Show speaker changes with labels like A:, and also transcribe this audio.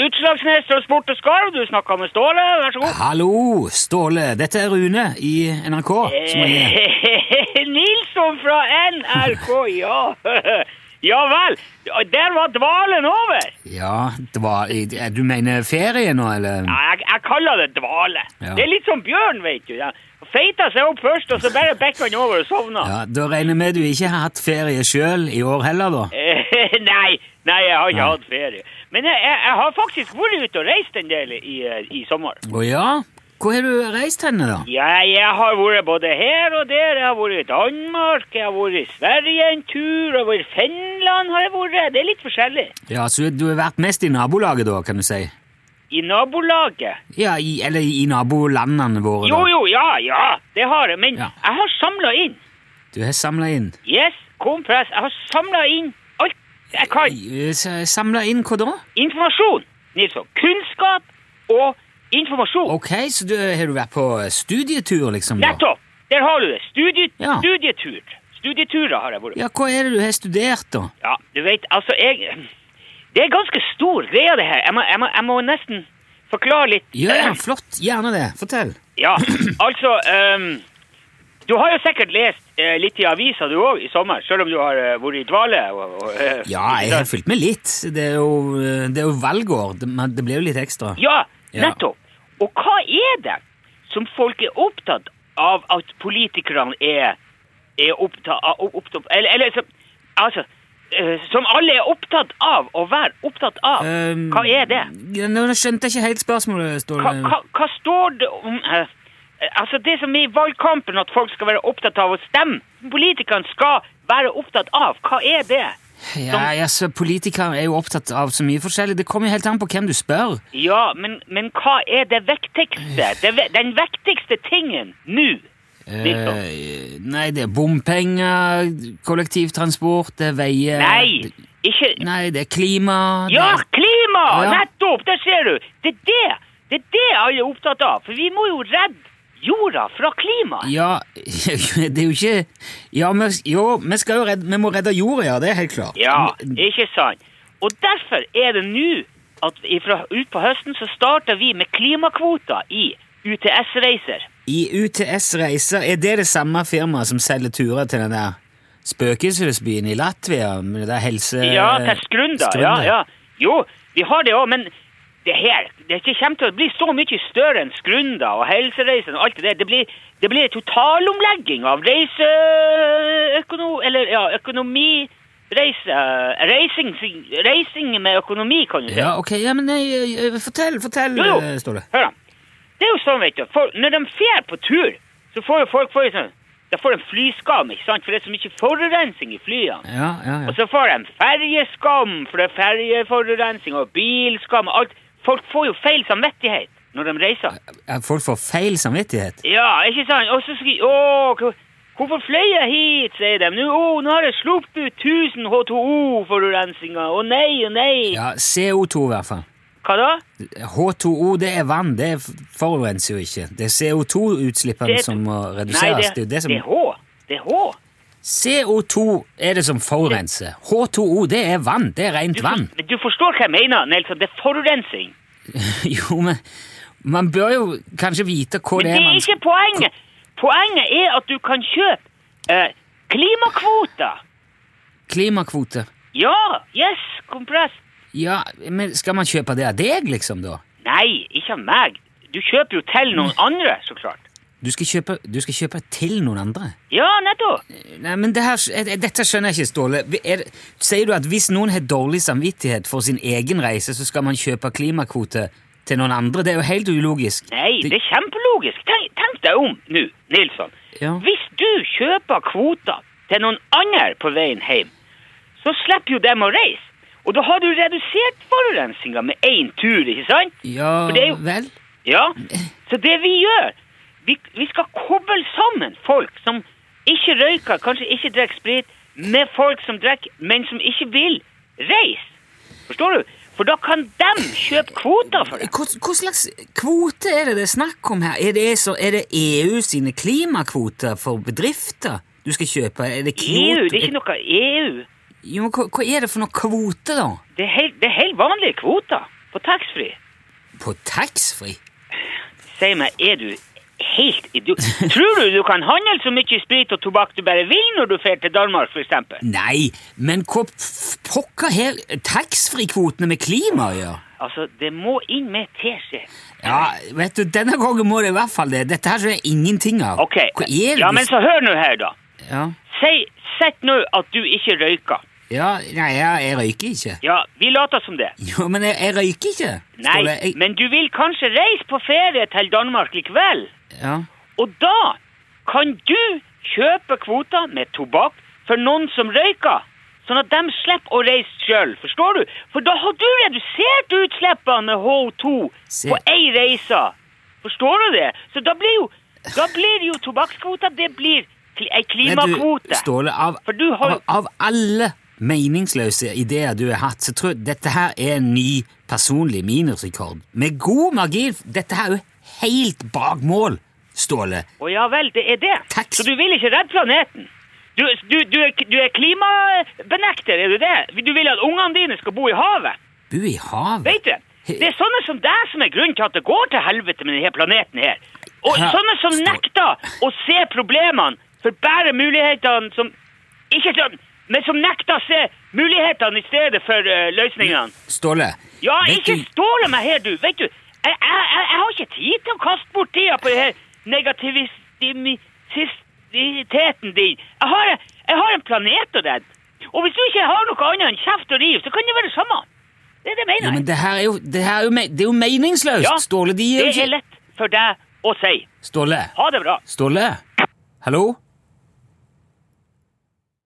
A: Utslagsnes Transport og Skarv, du snakka med Ståle, vær så god.
B: Hallo, Ståle. Dette er Rune i NRK. Som er...
A: Eh, Nilsson fra NRK, ja. ja vel. Der var dvalen over.
B: Mm. Ja, det var... Du mener ferie nå, eller?
A: Ja, jeg, jeg kaller det dvale.
B: Ja.
A: Det er litt som bjørn, vet du. Ja. Feita seg opp først, og så bare bekka han over og sovna.
B: Ja, Da regner jeg med du ikke har hatt ferie sjøl i år heller, da?
A: Eh, nei, nei, jeg har ikke
B: Nei.
A: hatt ferie. Men jeg, jeg, jeg har faktisk vært ute og reist en del i, eh, i sommer.
B: Å ja? Hvor har du reist henne, da?
A: Ja, jeg har vært både her og der. Jeg har vært i Danmark, jeg har vært i Sverige en tur, og i Finland har jeg vært. Det er litt forskjellig.
B: Ja, Så du har vært mest i nabolaget, da, kan du si?
A: I nabolaget.
B: Ja, i, Eller i nabolandene våre,
A: Jo,
B: da?
A: jo, ja, ja, det har jeg. Men
B: Ja.
A: jeg har samla inn.
B: Du har samla inn
A: Yes, kompress. Jeg har samla inn alt jeg kan.
B: Samla inn hva da?
A: Informasjon, Nilsson. Kunnskap og informasjon.
B: Ok, så du, har du vært på studietur, liksom? da?
A: Nettopp! Der har du det. Studie,
B: Ja.
A: Studietur. Studieturer har jeg vært.
B: Ja, hva er det du har studert, da?
A: Ja, du vet, altså, jeg Det er ganske stor greie, det her. Jeg må, jeg må, jeg må nesten forklare litt. Eh,
B: Ja, ja, flott. Gjerne det. Fortell.
A: Ja, altså ehm, Du har jo sikkert lest eh, litt i avisa du òg i sommer, selv om du har eh, vært i dvale. Og, og, eh,
B: Ja, jeg har fulgt med litt. Det er jo, det er jo valgår. Det, men det blir jo litt ekstra.
A: Ja,
B: Ja.
A: nettopp. Og hva er det som folk er opptatt av at politikerne er, er opptatt av opptatt, Eller, eller som, altså eh, Som alle er opptatt av å være opptatt av.
B: Ehm,
A: hva er det?
B: ja, Nå skjønte jeg ikke helt spørsmålet,
A: Hva,
B: Ståle.
A: hva, hva står det om eh, Altså, det som er i valgkampen, at folk skal være opptatt av å stemme. Politikerne skal være opptatt av. Hva er det?
B: Ja, altså, Politikere er jo opptatt av så mye forskjellig. Det kommer jo helt an på hvem du spør.
A: Ja, men, men hva er det viktigste? Det, ve- den viktigste tingen nå? Liksom.
B: Eh, nei, det er bompenger, kollektivtransport, det er veier
A: Nei! Ikke
B: Nei, det er klima
A: Ja,
B: det er-
A: klima!
B: Ja.
A: Nettopp! Der ser du! Det er det Det er det alle er opptatt av. For vi må jo redde jorda fra klimaet.
B: Ja, det er jo ikke Ja, vi, jo, vi skal jo redde, vi må redde jorda, ja, det er helt klart.
A: Ja, ikke sant? Og derfor er det nå at ifra, ut på høsten så starter vi med klimakvoter i UTS-reiser.
B: I UTS Reiser, er det det samme firmaet som selger turer til den der spøkelsesbyen i Latvia? Med det der helse...
A: Ja, til Skrunda. Ja, ja. Jo, vi har det òg, men det her det ikke kommer til å bli så mye større enn Skrunda og Helsereisen og alt det der. Det blir, det blir en totalomlegging av reiseøkono... Eller ja, økonomi... Reise, reising, reising med økonomi, kan du si.
B: Ja, ok, ja, men nei, eh, fortell, fortell,
A: Jo, jo.
B: eh, Ståle.
A: Hør da. Det er jo sånn, vet du. Folk, når de fer på tur, så får jo folk får jo sånn, de får en flyskam, ikke sant? For det er så mye forurensning i flyene.
B: Ja, ja, ja.
A: Og så får de ferjeskam, for det er ferjeforurensning, og bilskam, og alt. Folk får jo feil samvittighet når de reiser.
B: At Folk får feil samvittighet.
A: Ja, ikke sant? Og så skriver Å, hvor- hvorfor fløy jeg hit, sier de. Nå, å, nå har jeg sluppet ut 1000 H2O-forurensninger. Å nei, å nei.
B: Ja, CO2 i hvert fall.
A: Hva da?
B: H2O, det er vann, det f- forurenser jo ikke. Det er CO2-utslippene
A: Det-
B: som må
A: Nei,
B: reduseres.
A: det,
B: det, er jo det som...
A: det er H. Det er H.
B: CO2 er det som forurenser. H2O, det er vann. Det er rent
A: Du,
B: vann.
A: for, du forstår hva jeg mener, Nelson. Det er forurensning.
B: Jo, men man bør jo kanskje vite hva
A: Men
B: det
A: det
B: er
A: er
B: man
A: ikke poenget. Poenget er at du kan kjøpe eh, klimakvoter.
B: Klimakvote.
A: Ja, yes, kompress.
B: Ja, men skal man kjøpe det av deg, liksom, da?
A: Nei, ikke av meg. Du kjøper jo til noen andre, så klart.
B: Du skal kjøpe, du skal kjøpe til noen andre?
A: Ja, nettopp.
B: Nei, men det her, eh, dette skjønner jeg ikke, Ståle. Er, det- sier du at hvis noen har dårlig samvittighet for sin egen reise, så skal man kjøpe klimakvote til noen andre? Det er jo helt ulogisk.
A: Nei, det,
B: Det-
A: er kjempelogisk. Tenk, tenk deg om nå, Nilsson.
B: Ja.
A: Hvis du kjøper kvoter til noen andre på veien hjem, så slipper jo dem å reise. Og da har du redusert forurensninga med én tur, ikke sant?
B: Ja
A: For det er jo-
B: vel?
A: Ja, så det vi gjør, vi, vi skal koble sammen folk som ikke røyker, kanskje ikke drikker sprit, med folk som drikker, men som ikke vil reise. Forstår du? For da kan de kjøpe kvoter for det.
B: Hva, hva slags kvote er det det er snakk om her? Er det, så, er det EU sine klimakvoter for bedrifter du skal kjøpe? Er det
A: EU,
B: kvoter?
A: E det er ikke noe E EU.
B: Jo, men hva, hva er det for noen kvoter, da?
A: Det er helt, det er helt vanlige kvoter. på taxfree.
B: På taxfree?
A: Si meg, er du helt idiot? Tror du du kan handle så mye sprit og tobakk du bare vil når du drar til Danmark, for eksempel?
B: Nei, men hva f- pokker har taxfree-kvotene med klima å gjøre?
A: Altså, det må inn med teskje.
B: Ja, vet du, denne gangen må det i hvert fall det. Dette her skjønner jeg ingenting av.
A: Ok,
B: Hva er det?
A: ja,
B: du-
A: men så hør nå her, da.
B: ja.
A: Si, sett nå at du ikke røyker.
B: ja, nei, jeg, jeg røyker ikke.
A: Ja, vi later som det.
B: Jo, men jeg, jeg røyker ikke.
A: Nei,
B: Ståle. jeg,
A: men du vil kanskje reise på ferie til Danmark likevel?
B: ja.
A: Og da kan du kjøpe kvoter med tobakk for noen som røyker. Sånn at de slipper å reise sjøl, forstår du? For da har du redusert utslippene med H2
B: Se.
A: på ei reise. Forstår du det? Så da blir jo, da blir jo tobakkskvoter Det blir kli, ei
B: Vet du,
A: klimakvote.
B: Ståle, av,
A: For du har-
B: av, av alle meningsløse ideer du har hatt, så tror jeg dette her er en ny personlig minusrekord. Med god margin. Dette her er jo helt bak mål, Ståle.
A: Å ja vel, det er det.
B: Takk.
A: Så du vil ikke redde planeten? Du, du, du, er, du er klimabenekter, er du det? Du vil at ungene dine skal bo i havet?
B: Bu i havet.
A: Vet du, det er sånne som deg som er grunnen til at det går til helvete med denne planeten her. Og
B: Ja,
A: sånne som
B: stå-
A: nekter å se problemene for bare mulighetene som Ikke sånn, men som nekter å se mulighetene i stedet for eh, løsningene.
B: Ståle.
A: Ja,
B: vet
A: ikke
B: du-
A: ståle meg her, du. Vet du, jeg, jeg, jeg, jeg har ikke tid til å kaste bort tida på denne negativistisiteten din. Jeg har, jeg har en planet å redde. Og hvis du ikke har noe annet enn kjeft og riv, så kan det være det samme. Det er det jeg mener.
B: Jo, men det her er jo, det her er jo, me- det er jo meningsløst,
A: Ja,
B: Ståle. De er jo
A: Det er
B: ikke
A: lett for deg å si.
B: Ståle.
A: Ha det bra.
B: Ståle? Hallo?